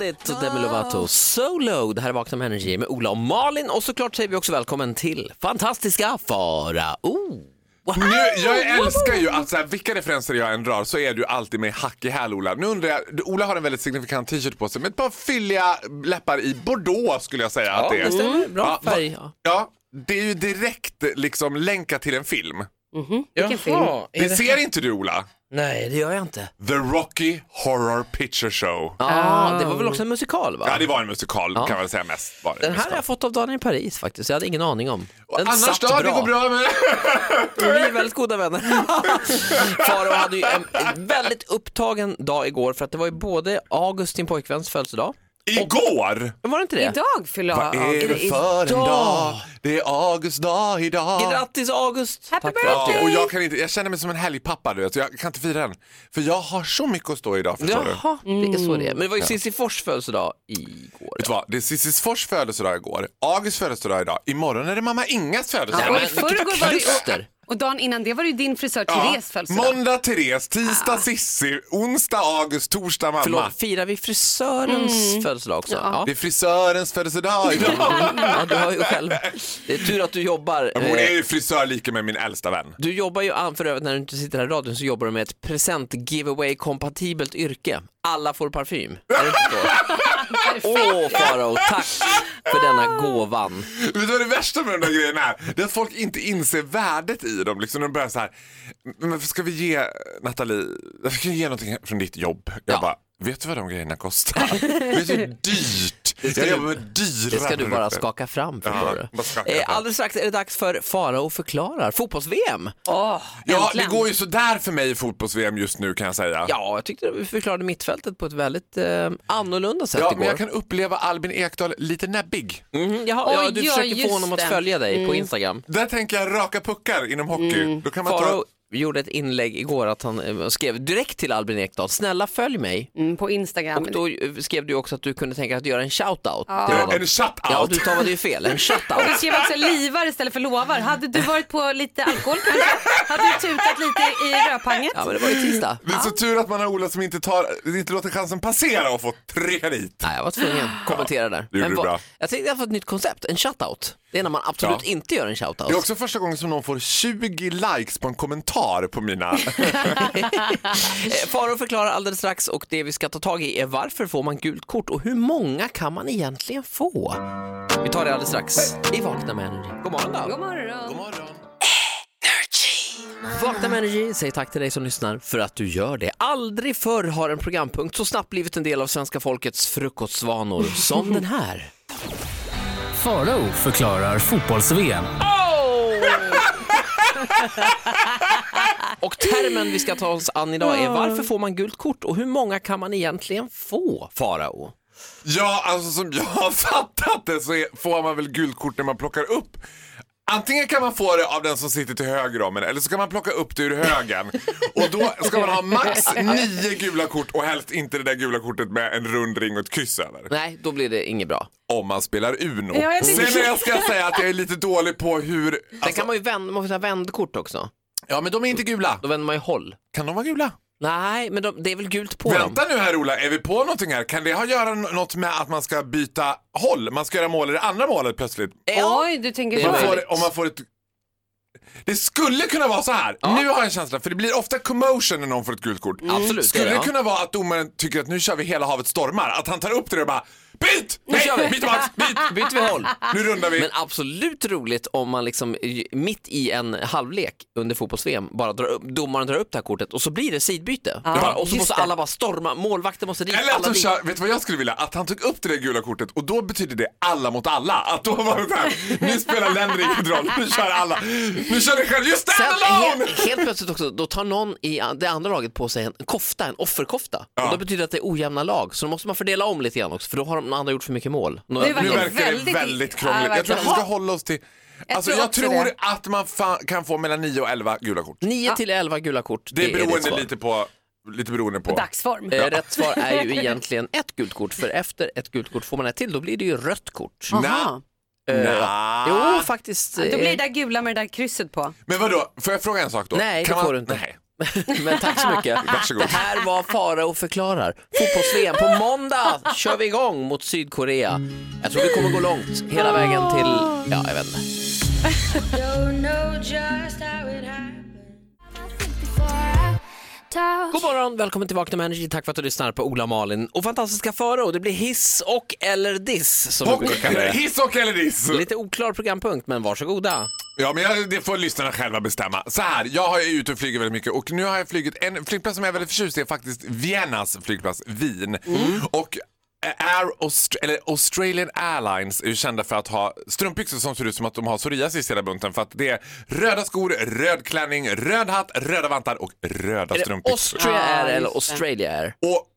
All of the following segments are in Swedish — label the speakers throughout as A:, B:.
A: Bandit och Demi Lovato Solo. Det här är Vakna med Energy med Ola och Malin och såklart säger vi också välkommen till fantastiska Farao. Oh,
B: Nu, jag älskar ju att så här, vilka referenser jag än drar så är du alltid med hack i häl Ola. Nu undrar jag, du- Ola har en väldigt signifikant t-shirt på sig med ett par fylliga läppar i bordeaux skulle jag säga att det är.
A: stämmer. Bra
B: va-
A: färg. ja.
B: Ja, det är ju direkt liksom länkat till en film.
C: Vilken film?
D: Jaha, är
B: Det
D: det-
B: ser inte du Ola?
D: Nej,
A: Det gör jag inte.
B: The Rocky Horror Picture Show.
A: Ja, Det var väl också en musikal va?
B: Ah. Ja, det var en musikal kan man väl säga mest. Var det en
A: Den här har
B: musikal.
A: jag fått av Daniel Paris faktiskt. Jag hade ingen aning om. Den
B: Annars
A: satt
B: då? Det går bra med...
A: Vi är väldigt goda vänner. Farao hade ju en väldigt upptagen dag igår för att det var ju både August, din pojkväns födelsedag.
B: Igår!
A: Var det inte det?
C: Idag fyller jag
B: Vad är det för en
A: idag?
B: dag? Det är August dag idag.
A: Grattis August!
C: Happy
A: Tack för allt du
B: Ja,
A: gör.
B: och jag, kan inte, jag känner mig som en helgpappa, du vet, så jag kan inte fira den. För jag har så mycket att stå i idag, förstår du. Vet
A: Jaha, det är så det är.
C: Mm.
A: Men det var ju Cissi Fors födelsedag igår.
B: du vad? Det är Cissis Fors födelsedag igår, August födelsedag idag, imorgon är det mamma Ingas födelsedag.
A: Ja,
C: Och
A: men
C: i
A: vilket
C: förrgår var det
A: kluster.
C: ju, och dagen innan det var det ju din frisör Therese födelsedag. Ah.
B: Måndag Therese, tisdag Sissi, onsdag August, torsdag mamma.
A: Förlåt, firar vi frisörens
C: Mm.
A: födelsedag också? Ja. Mm.
B: Det är frisörens födelsedag idag.
A: Ja, du har ju själv. Det är tur att du jobbar.
B: Men Hon
A: eh,
B: är ju frisör lika med min äldsta vän.
A: Du jobbar ju, an- för övrigt när du inte sitter här i radion, så jobbar du med ett present-giveaway-kompatibelt yrke. Alla får parfym. Är det inte så? Åh Farao, tack för denna gåvan.
B: Vet du vad det värsta med de där grejerna är? Det är att folk inte inser värdet i dem. Liksom de börjar så här, men varför ska vi ge Nathalie, varför ska vi ge någonting från ditt jobb? Jag
A: Ja.
B: bara, vet du vad de grejerna kostar? vet du hur dyrt? Jag
A: du-
B: jobbar med dyra
A: Det ska du bara
B: produkter.
A: skaka fram
B: Ja,
A: förstår
B: bara skaka
A: du. Eh,
B: fram.
A: Alldeles strax är det dags för Farao förklarar fotbolls-VM.
C: Åh,
B: Ja, det
C: äntligen.
B: går ju sådär för mig i fotbolls-VM just nu kan jag säga.
A: Ja, jag tyckte vi förklarade mittfältet på ett väldigt eh, annorlunda sätt
B: Ja,
A: igår.
B: men jag kan uppleva Albin Ekdal lite näbbig.
A: Mhm, jaha, ja,
C: Oj,
A: du
C: ja,
A: försöker få
C: just
A: honom att
C: det. Mm.
A: följa dig på Instagram.
B: Där tänker jag raka puckar inom hockey. Då kan man
A: Mm, Faro
B: ta...
A: gjorde ett inlägg igår att han eh, skrev direkt till Albin Ekdal, snälla följ mig.
C: Mm, på Instagram.
A: Och då eh, skrev du också att du kunde tänka dig att göra en shoutout till
B: Ja,
A: honom.
B: En shutout!
A: Ja, du stavade ju fel, en
C: Du
A: shoutout.
C: skrev också livar istället för lovar. Hade du varit på lite alkohol kanske? Hade du tutat lite i rödpanget?
A: Ja, men det var ju tisdag.
B: Det är så tur att man har Ola som inte, tar, inte låter chansen passera och få trycka dit.
A: Nej, jag var tvungen att kommentera där.
B: gjorde du
A: vad-
B: bra.
A: jag tänkte jag får ett nytt koncept, en shoutout. Det är när man absolut
B: Ja.
A: inte gör en
B: Det är
A: shoutout.
B: också första gången som någon får 20 likes på en kommentar på mina...
A: Eh, Faro förklarar alldeles strax och det vi ska ta tag i är varför får man gult kort och hur många kan man egentligen få? Vi tar det alldeles strax i Vakna med Energy. God morgon då.
C: God morgon.
A: Vakna med energi, säg tack till dig som lyssnar för att du gör det. Aldrig förr har en programpunkt så snabbt blivit en del av svenska folkets frukostvanor som den här.
E: Farao förklarar fotbolls-VM.
A: Och termen vi ska ta oss an idag är varför får man gult kort och hur många kan man egentligen få, Farao?
B: ja, alltså som jag har fattat det så är, får man väl gult kort när man plockar upp. Antingen kan man få det av den som sitter till höger om en eller så kan man plocka upp det ur högen. Och då ska man ha max nio gula kort och helst inte det där gula kortet med en rund ring och ett kryss över.
A: Nej, då blir det inget bra.
B: Om man spelar Uno.
C: Ja, jag
B: Sen
C: tycker-
B: är jag ska jag säga att jag är lite dålig på hur...
A: Sen
B: Alltså,
A: kan man ju vända, man får säga vändkort också.
B: ja, men de är inte gula.
A: Då vänder man ju håll.
B: Kan de vara gula?
A: Nej, men de, det är väl gult på dem?
B: Vänta nu här Ola, är vi på någonting här? Kan det ha att göra n- något med att man ska byta håll? Man ska göra mål i det andra målet plötsligt?
A: Ja.
C: Oj, du tänker
A: Det är
C: så.
B: Man
A: möjligt.
B: får, om man får ett... Det skulle kunna vara så här. Nu har jag en känsla, för det blir ofta commotion när någon får ett gult kort.
A: Mm. Absolut,
B: Skulle
A: det är det,
B: det
A: ja.
B: kunna vara att domaren tycker att nu kör vi hela havet stormar? Att han tar upp det och bara Byt!
A: kör vi.
B: Nej, byt Max! Byt!
A: Byter vi håll?
B: Nu rundar vi.
A: Men absolut roligt om man liksom i- mitt i en halvlek under fotbolls-VM bara drar upp, domaren drar upp det här kortet och så blir det sidbyte. Bara, och så
C: just
A: måste
C: det.
A: alla bara storma, målvakten måste dit,
B: Eller att
A: alla
B: de
A: dit.
B: kör, vet du vad jag skulle vilja? Att han tog upp det där gula kortet och då betyder det alla mot alla. Att då var det så här, nu spelar länder ingen roll, nu kör alla. Nu kör ni själv, you
A: Sen
B: stand alone!
A: helt, helt plötsligt också, då tar någon i an- det andra laget på sig en kofta, en offerkofta. Och det betyder att det är ojämna lag, så då måste man fördela om lite grann också, för då har de andra gjort för mycket mål. Några-
C: Det var-
B: Nu
C: Verkligen
B: verkar det
C: väldigt-
B: väldigt
C: Ja,
B: krångligt. Jag tror
C: verkligen.
B: att vi ska hålla oss till... Alltså
C: tror
B: jag
C: också
B: tror
C: det.
B: att man fa- kan få mellan 9 och 11 gula kort.
A: 9 till 11 gula kort,
B: Det är
A: ditt
B: beroende
A: svar.
B: lite på... Lite beroende på.
C: Dagsform.
A: Eh, Rätt svar är ju egentligen ett gult kort, för efter ett gult kort får man ett till, då blir det ju rött kort. Eh,
C: Aha.
B: Eh, Nja.
A: Jo, faktiskt.
C: Då blir
A: eh,
C: det där gula med det där krysset på.
B: Men vadå, får jag fråga en sak då?
A: Nej, det
B: man...
A: får du inte.
B: Nej.
A: Men tack så mycket.
B: Varsågod.
A: Det här var Farao förklarar. Fotbolls-VM på måndag kör vi igång mot Sydkorea. Jag tror vi kommer gå långt hela vägen till, ja jag vet inte. God morgon, välkommen till Vakna med Energy. Tack för att du lyssnar på Ola Malin och fantastiska Farao. Det blir hiss och eller diss som vi
B: Och,
A: brukar kalla det.
B: hiss och eller diss?
A: Lite oklar programpunkt men varsågoda.
B: Ja, men jag, det får lyssnarna själva bestämma. Så här, jag är ute och flyger väldigt mycket och nu har jag flugit en flygplats som jag är väldigt förtjust i är faktiskt Viennas flygplats, Wien.
A: Mm.
B: Och eh, Air Aust- eller Australian Airlines är ju kända för att ha strumpbyxor som ser ut som att de har psoriasis i hela bunten för att det är röda skor, röd klänning, röd hatt, röda vantar och röda
A: Är det
B: strumpbyxor.
A: Austria
C: Ja,
A: Air eller
C: just det.
A: Australia Air?
B: Och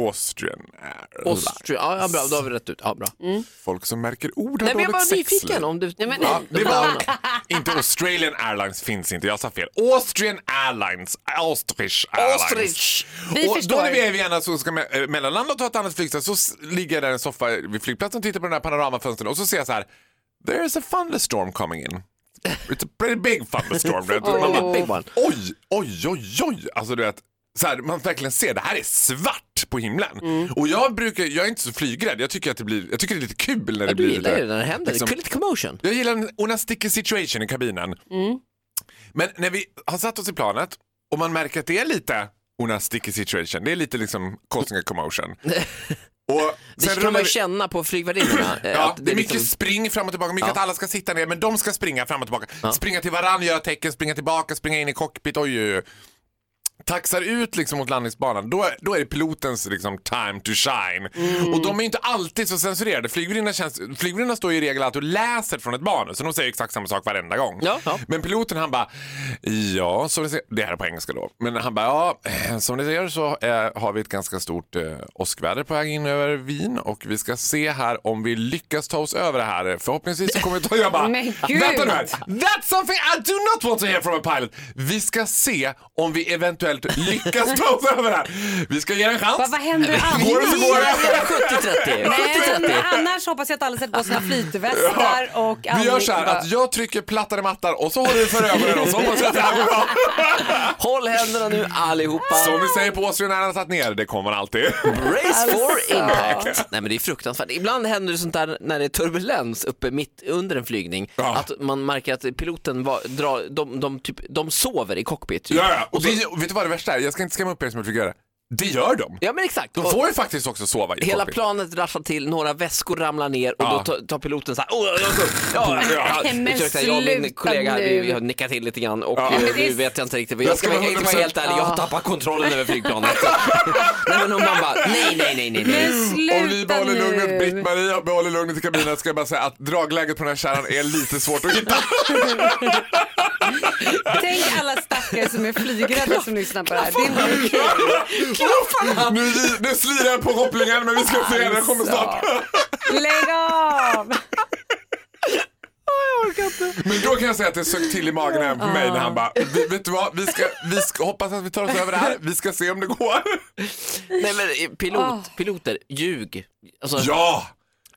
B: Austrian Air.
A: Austria, ja, ja bra, då har vi rätt ut. Ja, bra.
B: Folk som märker ord har
A: Nej, men jag
B: dåligt
A: var
B: sexliv.
A: nyfiken om du...
C: men-
B: Ja,
A: de
B: det var
A: namnen.
B: inte Australian Airlines finns inte, jag sa fel. Austrian Airlines, Austrich Airlines.
A: Ostrich!
C: Vi
B: och
C: förstår.
B: då när vi är i Vienna så ska me- eh, mellanlanda och ta ett annat flygplats så s- ligger jag där i en soffa vid flygplatsen och tittar på den här panoramafönstren och så ser jag så här, there's a thunderstorm coming in. It's a pretty big thunderstorm. du vet. Man bara,
A: Big one.
B: Oj, oj, oj, oj. Alltså du vet, så här, man verkligen ser det här är svart på himlen.
A: Mm.
B: Och jag brukar, jag är inte så flygrädd. Jag tycker att det blir, jag tycker det är lite kul när det
A: Ja,
B: blir
A: du gillar ju det när det händer.
B: liksom-
A: det är lite commotion.
B: jag gillar en, och en sticky situation i kabinen. Men när vi har satt oss i planet och man märker att det är lite Una sticky situation. Det är lite liksom causing a commotion. Och
A: Det kan
B: rullar
A: man ju
B: vi-
A: känna på flygvärdinnorna. eh,
B: Ja,
A: att
B: det, typ är mycket
A: liksom-
B: spring fram och tillbaka, mycket
A: Ja.
B: att alla ska sitta ner men de ska springa fram och tillbaka. Springa till varandra, göra tecken, springa tillbaka, springa in i cockpit. Oj, oj, oj. Taxar ut liksom mot landningsbanan, då, då är det pilotens liksom, time to shine. Och de är ju inte alltid så censurerade. Flygvärdinnan känns- Flygvärdinnan står ju i regel alltid och läser från ett manus, så de säger exakt samma sak varenda gång.
A: Ja, ja.
B: Men piloten han bara, ja, som ni ser, det här är på engelska då. Men han bara, ja, eh, som ni ser så eh, har vi ett ganska stort eh, åskväder på väg in över Wien och vi ska se här om vi lyckas ta oss över det här. Förhoppningsvis så kommer vi ta... Jag bara,
C: Men gud!
B: vänta nu här. That's something I do not want to hear from a pilot. Vi ska se om vi eventuellt lyckas ta oss över det här. Vi ska ge det en chans.
C: Vad, vad händer annars?
B: Går det så går det.
A: 70-30.
C: Nej,
A: 70-30.
C: men annars hoppas jag att alla sätter på sina flytvästar
B: Ja,
C: och
B: vi gör så här
C: andning-
B: att jag trycker plattare mattar och så håller du för ögonen och så hoppas jag att det här går bra.
A: Håll händerna nu allihopa.
B: Som vi säger på Åsö när han har satt ner, det kommer han alltid.
A: Race for impact. Alltså. Nej men det är fruktansvärt. Ibland händer det sånt där när det är turbulens uppe mitt under en flygning.
B: Ja.
A: Att man märker att piloten var, drar, de, de, typ, de sover i cockpit. Typ.
B: Ja, ja. Och det, och vet du vad det värsta är? Jag ska inte skrämma upp er som jag fick göra. Det gör de.
A: Ja men exakt.
B: De
A: Och
B: får ju faktiskt också sova i
A: Hela
B: cockpit.
A: planet rasslar till, några väskor ramlar ner och
B: Ja.
A: då tar, tar piloten så här, "Åh, jag går upp." ja, ja, ja.
C: Nej, men
A: Ursäkta, jag och min
C: sluta
A: kollega vi,
C: nu.
A: vi har nickat till lite grann och
B: Ja.
A: eh,
B: Men
C: det är-
A: nu vet jag inte riktigt. Jag
B: Jag
A: ska
B: ska vara
A: vara helt- vara helt ärlig, jag har
B: 100%.
A: tappat kontrollen över flygplanet. nej men hon man bara, nej nej nej nej. nej.
C: Men
B: Om ni
C: sluta
B: behåller lugnet,
C: nu!
B: Britt-Maria behåller lugnet i kabinen ska jag bara säga att dragläget på den här kärran är lite svårt att hitta.
C: Tänk alla stackare som är flygrädda som lyssnar på det här. Det är inte okej.
B: nu, nu slirar jag på kopplingen men vi ska se, den kommer snart.
C: Lägg av!
B: Men då kan jag säga att det sög till i magen även på mig när han bara, "Vi- vet du vad, vi ska, vi ska hoppas att vi tar oss över det här, vi ska se om det går.
A: Nej men eh, pilot,
C: Ah.
A: piloter, ljug. Alltså,
B: Ja!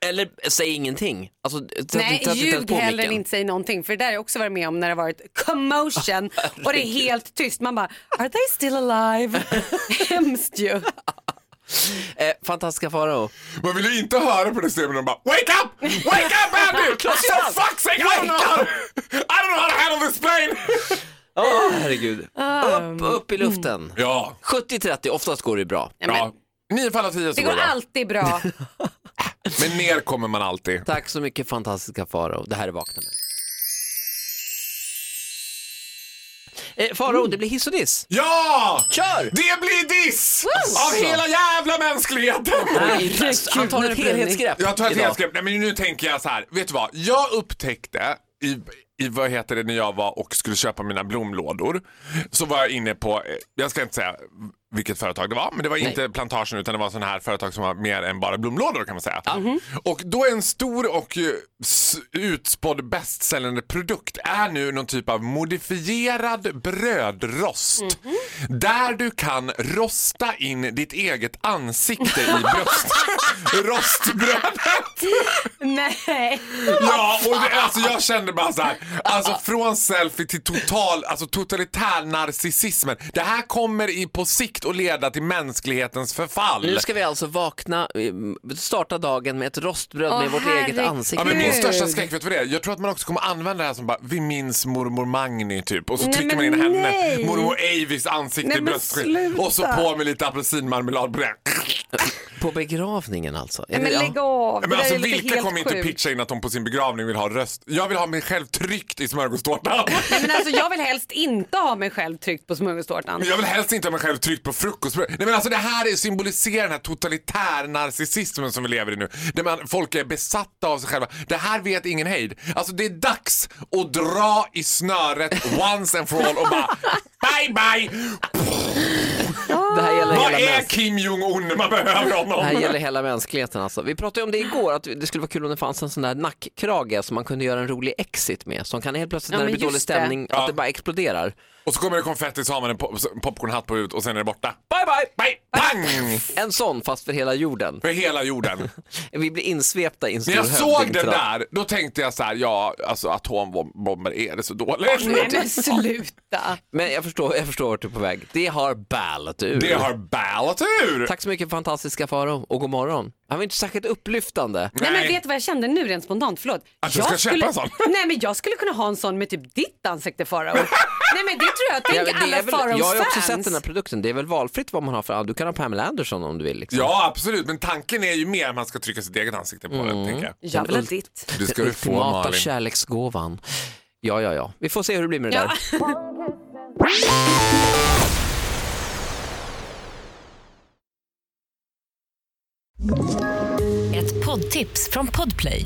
A: Eller eh, säg ingenting. Alltså, eh, sätt-
C: Nej,
A: sätt inte ens
C: ljug
A: på
C: hellre än
A: micken.
C: inte säg någonting. För det där har jag också varit med om när det har varit commotion och det är helt tyst. Man bara, are they still alive? Hemskt ju.
A: Eh, fantastiska Farao.
B: Man vill ju inte höra på det stämmet de bara Wake up! Wake up Andy! For fuck's sake! I don't know how, I don't know how to handle this plane!
A: Åh herregud. Upp, upp i luften.
B: Ja,
A: 70-30, oftast går det ju bra.
C: Ja, men,
B: ja. Nio fall av tio så
C: det
B: går det
C: går
B: bra.
C: alltid bra.
B: Men ner kommer man alltid.
A: Tack så mycket fantastiska Farao. Det här är Vakna med. Eh, Farao,
B: Mm.
A: det blir hiss och diss.
B: Ja!
A: Kör!
B: Det blir diss!
A: Woo!
B: Av hela jävla mänskligheten!
A: Han tar ett helhetsgrepp
B: Jag tar ett
A: idag.
B: helhetsgrepp. Nej men nu tänker jag så här. Vet du vad? Jag upptäckte i, i vad heter det när jag var och skulle köpa mina blomlådor. Så var jag inne på, eh, jag ska inte säga vilket företag det var, men det var inte plantagen utan det var sådana här företag som var mer än bara blomlådor kan man säga. Och då är en stor och eh, s- utspådd bästsäljande produkt är nu någon typ av modifierad brödrost. Där du kan rosta in ditt eget ansikte i bröst, rostbrödet.
C: Nej.
B: Ja, och det, alltså jag kände bara så här. Alltså från selfie till total, alltså totalitär narcissismen. Det här kommer i, på sikt att leda till mänsklighetens förfall.
A: Nu ska vi alltså vakna, eh, starta dagen med ett rostbröd
C: Åh,
A: med vårt eget
C: herregud.
B: Ja,
A: ansikte.
B: men min
C: Gud.
B: största skräck, vet du vad det är? Jag tror att man också kommer använda det här som bara, vi minns mormor Magni typ. Och så
C: Nej,
B: trycker man
C: men
B: in henne,
C: nej.
B: mormor Avis ansikte
C: Nej,
B: i
C: men
B: bröstet. Och så
C: sluta.
B: på med lite apelsinmarmelad på det.
A: På begravningen alltså. Är
C: Nej, men
A: det- ja.
C: lägg av. Det
B: Men
C: där
B: alltså
C: är lite
B: vilka
C: helt
B: kommer inte
C: sjukt.
B: pitcha in att de på sin begravning vill ha röst? Jag vill ha mig själv tryckt i smörgåstårtan.
C: Nej, men alltså, jag vill helst inte ha mig själv tryckt på smörgåstårtan.
B: Jag vill helst inte ha mig själv tryckt på frukostbröd. Nej men alltså det här är- symboliserar den här totalitär narcissismen som vi lever i nu. Där man, folk är besatta av sig själva. Det här vet ingen hejd. Alltså det är dags att dra i snöret once and for all och bara bye bye!
A: Det här gäller
B: Vad
A: hela
B: är
A: mäns-
B: Kim Jong-Un när man behöver
A: Det här
B: honom?
A: gäller hela mänskligheten alltså. Vi pratade ju om det igår, att det skulle vara kul om det fanns en sån där nackkrage som man kunde göra en rolig exit med. Som kan helt plötsligt
C: Ja,
A: när det
C: men
A: blir dålig
C: just det.
A: stämning, att
B: Ja.
A: det bara exploderar.
B: Och så kommer det konfetti så har man en pop- popcornhatt på huvudet och sen är det borta. Bye bye! Bye! Pang!
A: En sån fast för hela jorden.
B: För hela jorden.
A: Vi blir insvepta i en stor
B: När jag såg den
A: hövdingtratt.
B: där, då tänkte jag så här, ja alltså atombomber, är det så dåligt?
C: Nej men sluta.
A: Men jag förstår, jag förstår vart du är på väg. Det har ballat ur.
B: Det har ballat ur!
A: Tack så mycket fantastiska Faro och god morgon. Han var inte särskilt upplyftande.
C: Nej. men vet du vad jag kände nu rent spontant? Förlåt.
B: Att du ska köpa en sån?
C: Nej men jag skulle kunna ha en sån med typ ditt ansikte Farao. Nej men det tror jag. Tänk
A: det
C: alla
A: är väl,
C: Faraos
A: jag har ju också
C: fans.
A: sett den här produkten, det är väl valfritt vad man har för, du kan ha Pamela Anderson om du vill. Liksom.
B: Ja, absolut. Men tanken är ju mer att man ska trycka sitt eget ansikte på den, tänker jag.
C: Jag vill ha ditt.
B: Det ska
A: Den
B: du få,
A: ultimata
B: Malin.
A: kärleksgåvan. Ja, ja, ja. Vi får se hur det blir med det
C: Ja.
A: där.
D: Ett poddtips från Podplay.